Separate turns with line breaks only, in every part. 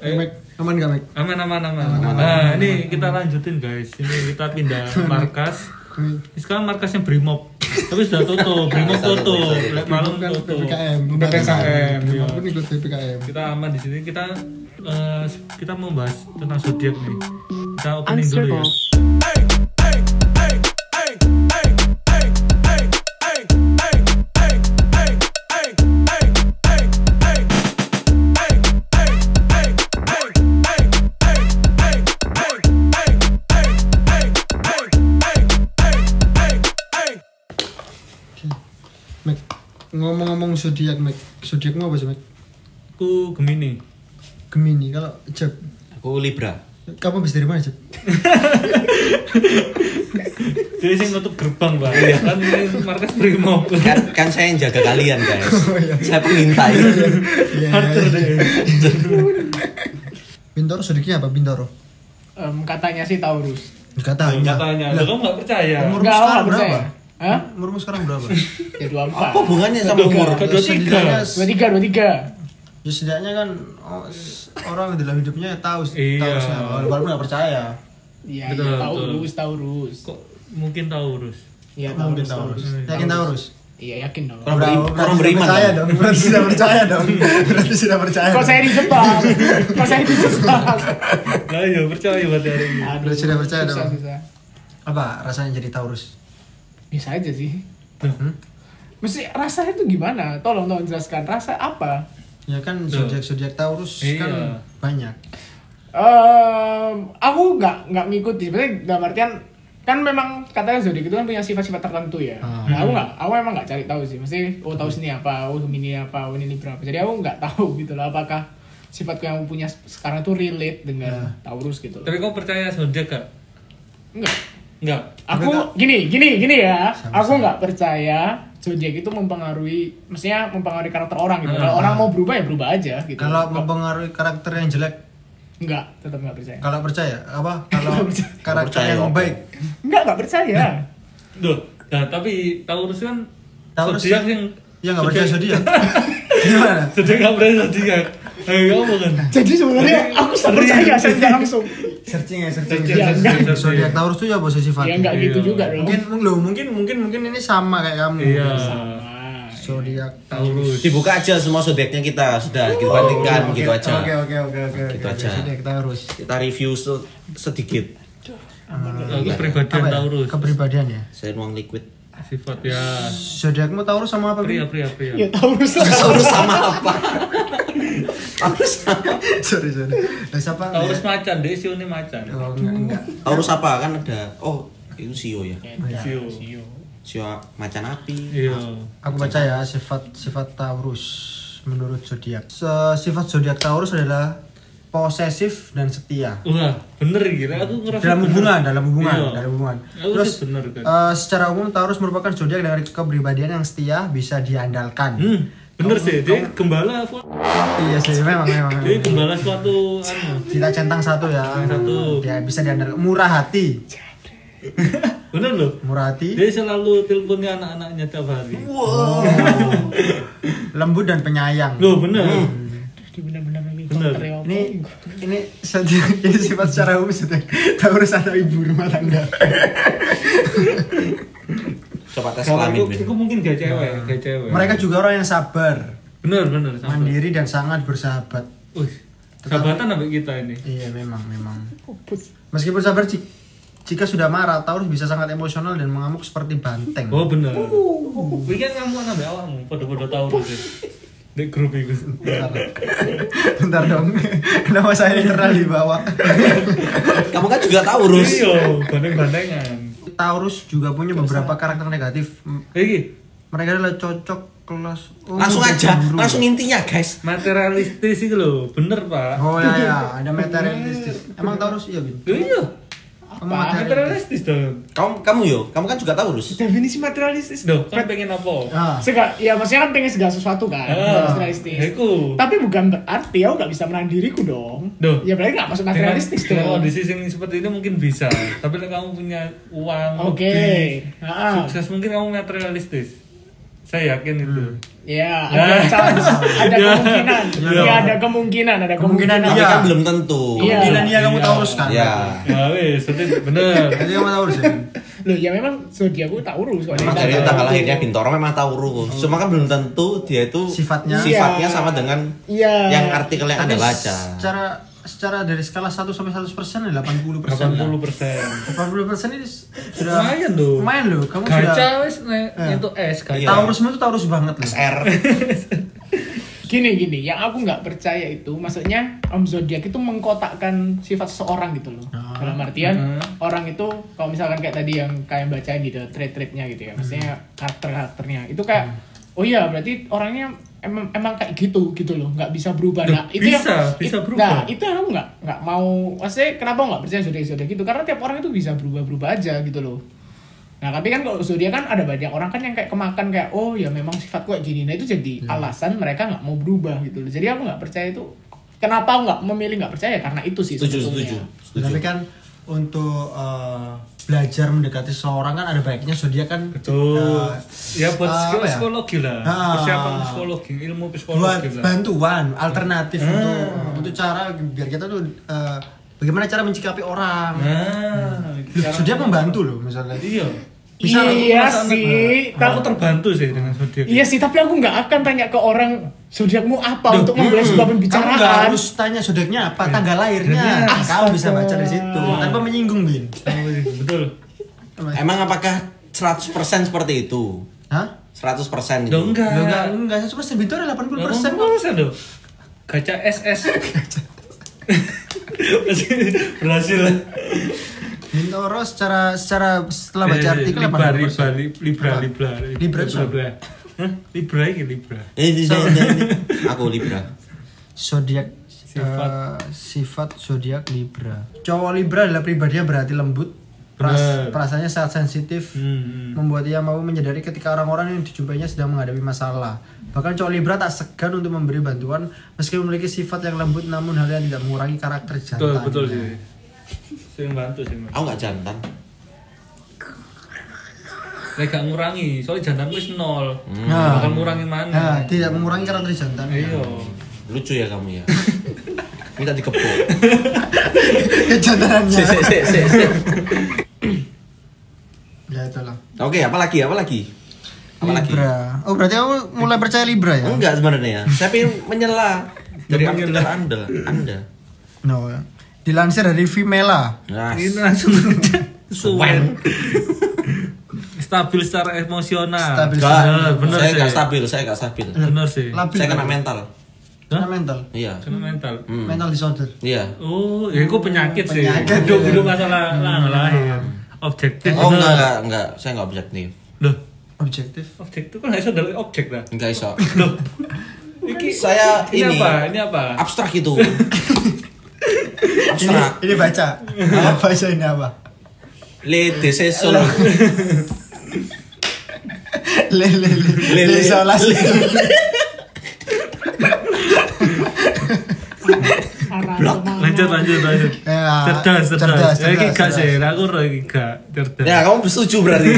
Mek, aman gak Mek?
Aman aman aman. Nah, ini kita lanjutin guys. Ini kita pindah markas. Ini Sekarang markasnya Brimob. Tapi sudah tutup, Brimob tutup, Lek malam
Bukan
tutup.
PPKM,
PPKM. iya.
Pun kan ikut PPKM.
Kita aman di sini. Kita eh, kita mau bahas tentang zodiak nih. Kita opening dulu ya.
Unstable.
Mek, ngomong-ngomong zodiak Mek, zodiakmu apa sih Mek?
Aku Gemini.
Gemini. Kalau Jeb,
Aku Libra.
kamu habis dari mana Jeb?
Jadi sih nutup gerbang, Pak. Kan ini markas Brimob.
Kan, kan saya yang jaga kalian guys. Saya pengintai.
Iya.
Hancur deh.
Bintoro zodiaknya apa Bintoro?
Em, katanya sih Taurus.
Gak tahu. Gak
Katanya. Lah, kamu nggak percaya?
Umur
Enggak,
sekarang
aku percaya.
berapa?
Hah?
Umurmu sekarang berapa?
Ya 24.
Apa Oh, hubungannya sama umur?
Ke dua tiga.
Setidaknya-
23, 23.
Ya setidaknya kan oh, s- orang dalam hidupnya tahu
Iya.
tahu siapa. Walaupun gak percaya.
Iya,
Betul,
iya,
betul.
Taurus, Taurus.
Kok mungkin Taurus?
Iya,
Mungkin
Taurus,
Taurus.
Taurus.
Yakin Taurus?
Iya, yakin dong.
Orang beri-
Berarti
orang
sudah
beriman.
percaya
dong.
dong. Berarti sudah percaya dong. Berarti sudah percaya.
Kok
dong.
saya dijebak? Kok saya dijebak?
Nah, ya percaya berarti hari ini.
Aduh,
Berarti sudah percaya
susah,
dong.
susah.
Apa rasanya jadi Taurus?
Bisa aja sih.
Hmm?
Mesti rasanya tuh gimana? Tolong tolong jelaskan rasa apa?
Ya kan
Tuh.
zodiak-zodiak Taurus
Iya.
kan banyak.
Em, aku nggak nggak ngikuti. Sebenarnya dalam artian kan memang katanya zodiak itu kan punya sifat-sifat tertentu ya.
Ah.
Nah, aku nggak, aku emang nggak cari tahu sih. Mesti oh tahu sini apa, oh Gemini apa, oh ini Libra apa. Jadi aku nggak tahu gitu loh apakah sifatku yang aku punya sekarang tuh relate dengan
Ah.
Taurus gitu loh.
Tapi kau percaya zodiak gak?
Enggak.
Enggak.
Aku gini, gini, gini ya. Aku nggak percaya zodiak itu mempengaruhi, mestinya mempengaruhi karakter orang gitu. Kalau orang mau berubah ya berubah aja gitu.
Ah. Kalau mempengaruhi karakter yang jelek,
Enggak, tetap nggak percaya.
kalau percaya apa? Kalau
percaya.
karakter
Percaya
yang
apa?
baik,
Enggak, nggak percaya.
Duh, nah tapi Taurus kan
Taurus
zodiak
ya?
yang
ya nggak percaya zodiak. Gimana?
Zodiak nggak percaya zodiak. Eh, kamu kan.
Jadi Iya, sebenarnya aku tak percaya saya tidak langsung.
Searching ya,
Searching,
ya.
searching, searching.
Zodiak Taurus tuh ya bos
Ya
sifatnya.
enggak
Iya.
gitu juga dong.
Mungkin mungkin- loh, mungkin mungkin mungkin ini sama kayak kamu.
Iya.
Nah,
Zodiak.
Taurus.
Dibuka aja semua zodiaknya kita sudah kita
Kan
bandingkan gitu aja.
Oke oke oke oke.
Gitu
oke.
aja.
Zodiak Taurus.
Kita review se- sedikit.
Aku kepribadian
Apa ya?
Taurus.
Kepribadian ya.
Saya nuang liquid.
Sifat ya.
Zodiakmu Taurus sama apa?
Pria, pria,
Bin?
pria.
Iya.
Ya Taurus lah.
Taurus sama apa? Taurus sama.
sorry sorry. Nah, siapa?
Taurus macan, deh Sio ini macan.
Oh, enggak, enggak.
Taurus apa kan ada? Oh, itu Sio ya.
Sio.
Iya.
Sio macan api.
Iya.
Aku baca ya sifat sifat Taurus menurut zodiak. Se- Sifat zodiak Taurus adalah posesif dan setia.
Wah, bener gila. Aku ngerasa
Dalam
bener.
hubungan, dalam hubungan,
Iya.
dalam hubungan.
Aku
Terus
sih bener kan.
eh, secara umum Taurus merupakan zodiak dengan kepribadian yang setia, bisa diandalkan.
Hmm, bener sih. Dia gembala,
Iya sih, memang memang.
dia gembala suatu anu.
Kita centang satu ya.
satu.
Dia bisa diandalkan, murah hati.
Bener loh.
Murah hati,
Dia selalu teleponnya anak-anaknya tiap hari.
lembut dan penyayang.
Loh, bener.
Hmm.
Benar-benar lagi
Bener.
konter ya, apa?
ini ini zodiak ini sifat secara ya, umum zodiak Taurus anak ibu rumah tangga
Coba tes
Kalau aku,
kelamin. Ben.
aku mungkin gak cewek, gak cewek.
mereka juga orang yang sabar
bener bener sabar.
mandiri dan sangat bersahabat
Wih, sahabatan sampai kita ini.
Nah.
iya memang memang
Pupus.
meskipun sabar jik- jika sudah marah Taurus bisa sangat emosional dan mengamuk seperti banteng
Oh bener. Wih kan kamu anak mbak awakmu, pada-pada tahu sih. Di grup itu.
bentar bentar dong kenapa saya internal di bawah
Kamu kan juga Taurus.
Iya, bandeng-bandengan.
Taurus juga punya beberapa karakter negatif M-
Iki
mereka adalah cocok kelas oh,
Langsung aja,
cemburu.
langsung intinya guys.
materialistis itu loh, bener pak.
oh ya ya ada materialistis emang Taurus iya bin
Iya,
kamu materialistis
materialistis dong.
Kamu kamu yo, kamu kan juga Taurus.
Definisi materialistis dong.
Dong, kan pengen apa?
ah.
Sega, ya maksudnya kan pengen segala sesuatu kan,
Ah,
materialistis.
iku.
Tapi bukan berarti aku nggak bisa menahan diriku dong.
Duh.
Ya berarti nggak masuk materialistis
Dengan- dengan
dong.
kondisi yang seperti ini mungkin bisa. Tapi kalau kamu punya uang
Oke.
lebih,
Ah.
sukses mungkin kamu materialistis. Saya yakin itu.
Hmm.
Ya, ada chance, ada
Ya.
kemungkinan.
Ya.
Ya, ada kemungkinan, ada
Kemungkinan
kemungkinan.
Tapi
Iya.
kan belum tentu.
Iya.
Kemungkinan iya kamu
Iya.
Taurus kan?
Ya.
Ya wes, Sutin bener.
Jadi kamu Taurus ya?
Loh, ya memang zodiakku Taurus kok.
Memang dari
Dari tanggal
tanggal
itu.
lahirnya Bintoro memang Taurus. Cuma kan belum tentu dia itu
Sifatnya.
sifatnya
Iya.
sama dengan
Iya.
yang artikel yang
Tapi
Anda baca. Iya.
Secara secara dari skala 1 sampai 100 persen 80 persen.
80 persen.
80 persen ini sudah
Lumayan loh.
Lumayan loh. Kamu
Gacha
sudah
wes ne-
Ah.
itu es
Iya.
gacha.
Taurusmu itu Taurus banget loh.
SR.
Gini gini, yang aku nggak percaya itu, maksudnya om zodiak itu mengkotakkan sifat seseorang gitu loh.
Ah.
Dalam
Hmm.
artian orang itu, kalau misalkan kayak tadi yang kalian bacain gitu, trait-traitnya gitu ya, maksudnya
Hmm.
karakter-karakternya itu kayak, oh iya berarti orangnya emang emang kayak gitu gitu loh, nggak bisa berubah.
Loh,
Nah itu
bisa,
yang,
bisa
it-
berubah.
Nah itu yang aku nggak nggak mau, maksudnya kenapa nggak percaya zodiak-zodiak gitu? Karena tiap orang itu bisa berubah-berubah aja gitu loh. Nah, tapi kan kalau zodiak kan ada banyak orang kan yang kayak kemakan kayak oh ya memang sifatku kayak gini. Nah, itu jadi alasan mereka nggak mau berubah gitu loh. Jadi aku nggak percaya itu kenapa aku nggak memilih nggak percaya karena itu sih
Setuju,
sebetulnya.
Tapi
setuju. Setuju.
kan untuk eh, belajar mendekati seorang kan ada baiknya zodiak kan
Betul.
eh,
ya buat
apa
skill
ya?
psikologi lah.
Ah.
Persiapan psikologi, ilmu
buat
psikologi gitu lah.
bantuan alternatif untuk untuk cara biar kita tuh eh, bagaimana cara mencikapi orang.
Nah,
Loh,
cara-
Zodiak membantu loh misalnya.
Iya.
Bisa aku
iya
Perasaan-
sih.
Nah, Aku
Ta-
terbantu sih dengan zodiak.
Iya sih, tapi aku nggak akan tanya ke orang zodiakmu
Duh,
apa untuk memulai sebuah
Kamu nggak
pembicaraan.
harus tanya zodiaknya apa, tanggal lahirnya. Ah,
Astaga.
Kamu bisa baca dari situ tanpa menyinggung bin.
Oh, iya, Betul.
Emang apakah 100% seperti itu?
Hah?
100%
Loh,
gitu.
enggak.
Lo enggak enggak saya cuma sebentar 80 persen
Persen persen loh. Gacha SS. Berhasil.
Bintoro secara secara setelah baca artikel
Eh, Libra,
80
Libra,
persen.
Libra,
Apa?
Libra,
Libra itu apa?
Libra. Hah? Libra ini Libra.
Eh, di- di- di- Aku Libra.
Zodiak
Sifat.
eh, sifat zodiak Libra. Cowok Libra adalah pribadinya berhati lembut,
Benar.
peras, perasaannya sangat sensitif,
Hmm,
membuat ia mau menyadari ketika orang-orang yang dijumpainya sedang menghadapi masalah. Bahkan cowok Libra tak segan untuk memberi bantuan meski memiliki sifat yang lembut namun hal yang tidak mengurangi karakter
Betul,
jantan.
betul sih. Sering bantu sih, Mas.
Aku nggak jantan.
Lek gak ngurangi, soalnya jantan wis nol.
Nah.
Bakal ngurangi
Nah,
mana?
tidak mengurangi karakter jantan.
Iya.
Lucu ya kamu ya. Minta dikepuk.
Kejantanannya.
Si, si, si, si, si.
Ya itulah.
Oke, apa lagi? Apa lagi? Apa lagi?
Libra. Oh berarti kamu mulai percaya Libra ya?
Enggak sebenarnya. Saya pengen menyela dari artikel
Menyela.
Anda. Anda.
No. ya. Dilansir dari Vimela.
Nah,
Ini langsung
Suwen.
stabil secara emosional.
Stabil.
Enggak,
Bener, bener
Nah, saya
sih.
nggak stabil, saya nggak stabil.
Bener sih.
Labil.
Saya kena mental.
Kena
Hah?
mental.
Iya.
Kena mental.
Hmm.
Mental disorder.
Iya.
Oh, ya itu penyakit,
Penyakit. ya. Hmm.
sih. Duduk duduk masalah lah lahir. Objektif.
Oh
bener.
enggak, enggak, enggak. Saya enggak objektif.
Loh,
Objektif.
objektif kan nggak bisa dari objek lah.
Enggak iso.
Loh. Iki
Saya
ini,
ini,
apa? Ini apa?
abstrak itu.
Ini,
abstrak.
ini baca. baca ini apa?
Le desesolo.
Le le le.
Le, le.
Le solas.
Arah kemana?
Lanjut lanjut lanjut.
Ya,
cerdas, cerdas.
cerdas,
Ya, Iki
cerdas,
gak
cerdas.
sih, aku roh iki gak cerdas.
Ya, kamu setuju berarti.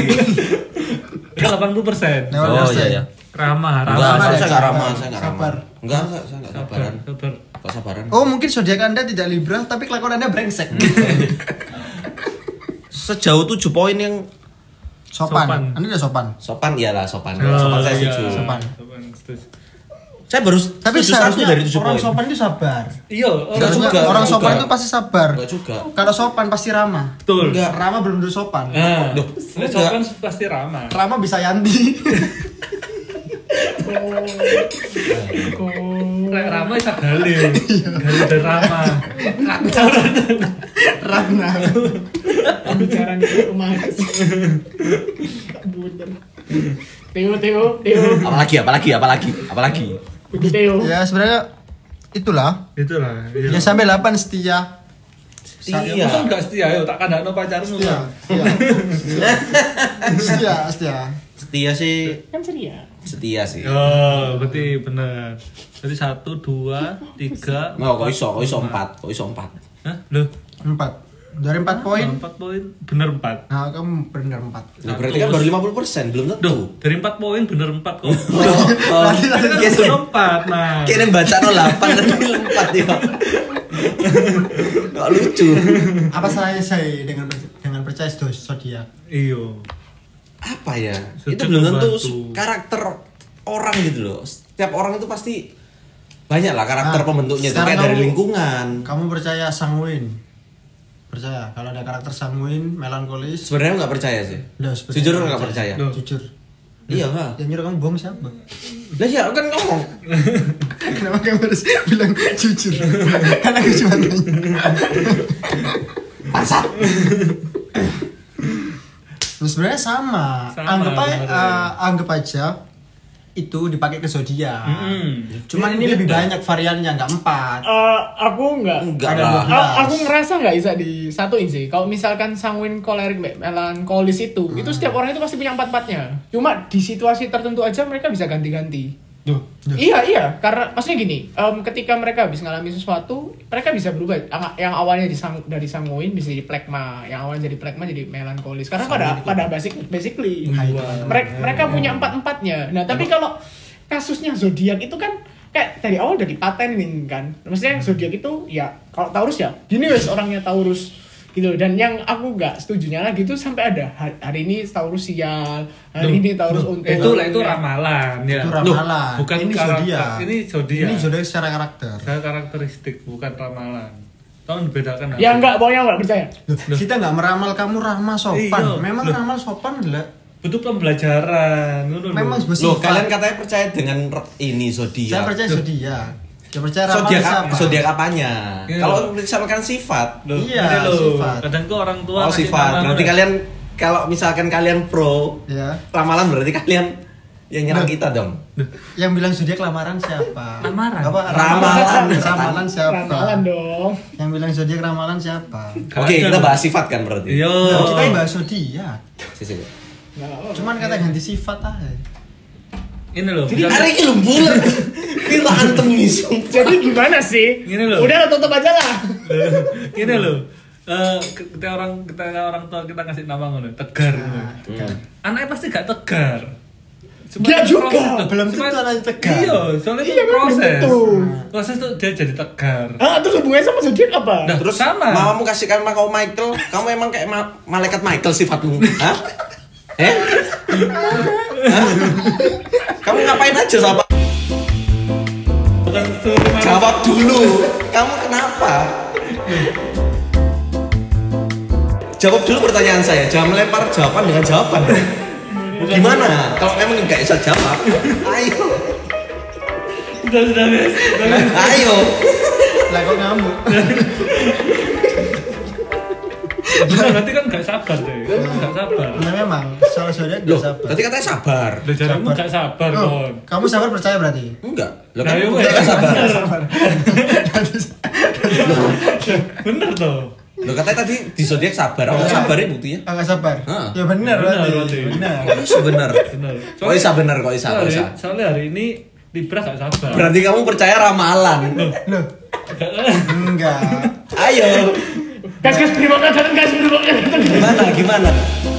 Ini 80 persen.
Nah,
Oh iya ya.
Ramah,
Enggak,
ramah.
Sabar,
saya enggak
sabar.
ramah, saya enggak ramah.
Sabar.
Enggak, enggak, saya enggak
Sabar,
sabaran.
sabar.
Kok sabaran?
Oh mungkin zodiak anda tidak Libra tapi kelakuan anda brengsek.
Sejauh 7 poin yang
sopan.
Sopan.
Anda udah sopan.
sopan iyalah sopan. Sopan saya
Oh, iya.
setuju.
Sopan.
Sopan, setuju.
Saya baru
Tapi
setuju satu
seharusnya
dari 7
orang
poin.
sopan itu sabar.
Iya,
Enggak
orang
Maksudnya
juga,
orang
enggak
sopan
juga.
itu pasti sabar.
Enggak juga.
Kalau sopan pasti ramah.
betul.
Enggak.
Ramah belum tentu sopan.
Eh.
Nah,
Loh,
ini
enggak.
sopan pasti ramah.
Ramah bisa Yanti.
Rek ramah bisa gali.
Iya.
Gali dan ramah.
Rana.
Pembicaraan di rumah. Bundar. Teo, Teo, Teo.
Apalagi, apalagi, apalagi, apalagi.
Udah Teo.
ya sebenarnya itulah.
Itulah. iya.
Ya sampai 8 setia.
Iya. Masa enggak setia ayo tak kandakno pacarmu.
Setia.
Bang.
Setia. setia, setia.
Setia sih,
Kan ceria.
setia sih.
Oh,
Iya.
berarti bener. Jadi satu, dua, tiga,
Mau kok iso, kok iso 4, kok iso 4.
Hah? Loh,
4. dari 4 poin.
Empat poin bener empat.
Nah, kamu benar 4.
Nah, berarti kan baru 50% belum
Duh,
tentu.
dari empat poin bener empat kok.
Iya.
Oh,
Kan
kira-
bener empat, nah.
Kira baca 08 tapi lompat ya. Gak lucu.
Apa salahnya saya dengan per- dengan percaya sto- zodiak?
Iyo.
Apa ya?
Sujud
itu belum tentu
membantu.
s- karakter orang gitu loh. Setiap orang itu pasti banyak lah karakter
Nah,
pembentuknya itu
sekarang
kayak dari
kamu-
lingkungan.
Kamu percaya sanguin? Percaya kalau ada karakter sanguin, melankolis,
Sebenarnya nggak percaya sih.
Loh, sebenarnya
Jujur
nggak
nggak percaya.
Loh.
jujur.
Iya nggak?
Yang nyuruh kamu bohong siapa?
Lah ya kan ngomong.
Kenapa kamu harus bilang jujur? Karena aku cuma nanya.
Masa?
Nah, sebenarnya sama.
Sama,
anggap aja,
bener.
eh, anggap aja itu dipakai ke zodiak.
Mm-mm.
Cuman ini lebih banyak variannya, nggak empat.
Eh, aku nggak
Enggak
Ada
lah.
dua.
A- aku ngerasa nggak bisa disatuin sih. Kalau misalkan sanguin kolerik me- melankolis itu, itu setiap orang itu pasti punya empat empatnya. Cuma di situasi tertentu aja mereka bisa ganti-ganti.
Duh, duh.
Iya iya, karena maksudnya gini, em, ketika mereka habis ngalami sesuatu, mereka bisa berubah. Ang- Yang awalnya disang, dari sanguin bisa jadi plekma, yang awalnya jadi plekma jadi melankolis. Karena pada pada basic basically
Hai,
mereka mereka punya empat empatnya nah tapi kalau kasusnya zodiak itu kan kayak dari awal udah dipatenin kan maksudnya zodiak itu ya kalau taurus ya gini wes orangnya taurus gitu dan yang aku nggak setujunya lagi itu sampai ada hari, hari ini taurus sial hari
Duh,
ini taurus
duh,
untung
Itu lah itu ramalan ya.
Itu
Loh,
ramalan.
bukan
ini
karakter.
zodiak.
Ini
Iya.
zodiak.
Ini zodiak secara karakter.
Saya karakteristik bukan ramalan. Tolong dibedakan.
ya
Abi.
nggak pokoknya nggak percaya
Loh, Kita nggak meramal kamu rahma sopan.
Iya.
Memang
Loh.
rahma sopan adalah
Butuh pembelajaran. ngono lho.
memang
Loh,
bersifat.
kalian kan katanya percaya dengan re- ini zodiak.
Saya percaya zodiak. Saya percaya rahma
Zodiak
itu
apa?
siapa?
Zodiak apanya?
Iya.
Kalau misalkan sifat,
Loh,
Iya,
ini lho.
sifat.
Kadang tuh orang tua
oh
kasih
sifat.
nama,
Berarti
lho.
kalian kalau misalkan kalian pro
Ya.
ramalan berarti kalian yang nyerang
Nah.
kita dong.
Yang bilang zodiak lamaran siapa?
Lamaran?
Apa,
Ramalan.
Ramalan siapa?
ramalan dong
Yang bilang zodiak ramalan siapa?
Gak
Oke,
ada
kita
lho.
bahas sifat kan berarti.
Iya.
Nah, kita yang bahas zodiak.
Sisi.
Nggak apa-apa.
Cuman kata ganti sifat aja.
Ini loh.
Jadi
misalnya-
hari ini lu bulat. Kita antem nih sumpah.
jadi gimana sih
Gini loh.
udah tutup aja lah
gini loh eh, kita orang kita orang tua kita ngasih nama ngono tegar ngono. anaknya pasti gak tegar Cuma
Dia
itu
juga,
proses-
belum tentu
cuma-
anaknya tegar.
iya soalnya
Iya,
itu
memang
proses
tentu.
proses tuh dia jadi tegar
ah terus hubungannya sama zodiak apa
Nah,
Terus
sama.
mamamu kasihkan sama kau Michael, kamu emang kayak ma- malaikat Michael sifatmu. Hah? Eh? Hah? Kamu ngapain aja sama
bukan suruh main-
Jawab dulu. Kamu kenapa? Jawab dulu pertanyaan saya. Jangan melempar jawaban dengan jawaban. Gimana? Kalau memang nggak bisa jawab, ayo,
sudah sudah Bes. Sudah, Bes.
ayo.
Lah kok ngamuk?
Nah, berarti kan gak sabar deh Kamu gak sabar
Nah, memang soal zodiak
Loh,
gak sabar.
tadi katanya sabar.
udah jarimu gak sabar
Loh,
kon
Kamu sabar percaya berarti?
Enggak. Lo
Nah,
kan
iya,
katanya
iya.
sabar.
bener toh
Lo katanya tadi di zodiak sabar. Kamu
Iya.
sabarnya buktinya?
Enggak sabar.
Heeh.
Ya benar
Benar
berarti.
berarti.
Benar.
Kok bisa bener?
bener
Kok bisa bener? Kok bisa? Kok
soalnya,
bisa?
soalnya hari ini Libra gak sabar
Berarti kamu percaya ramalan.
Iya.
Loh. Enggak.
Ayo.
gas gas beri makan gas beri makan
Gimana? Gimana?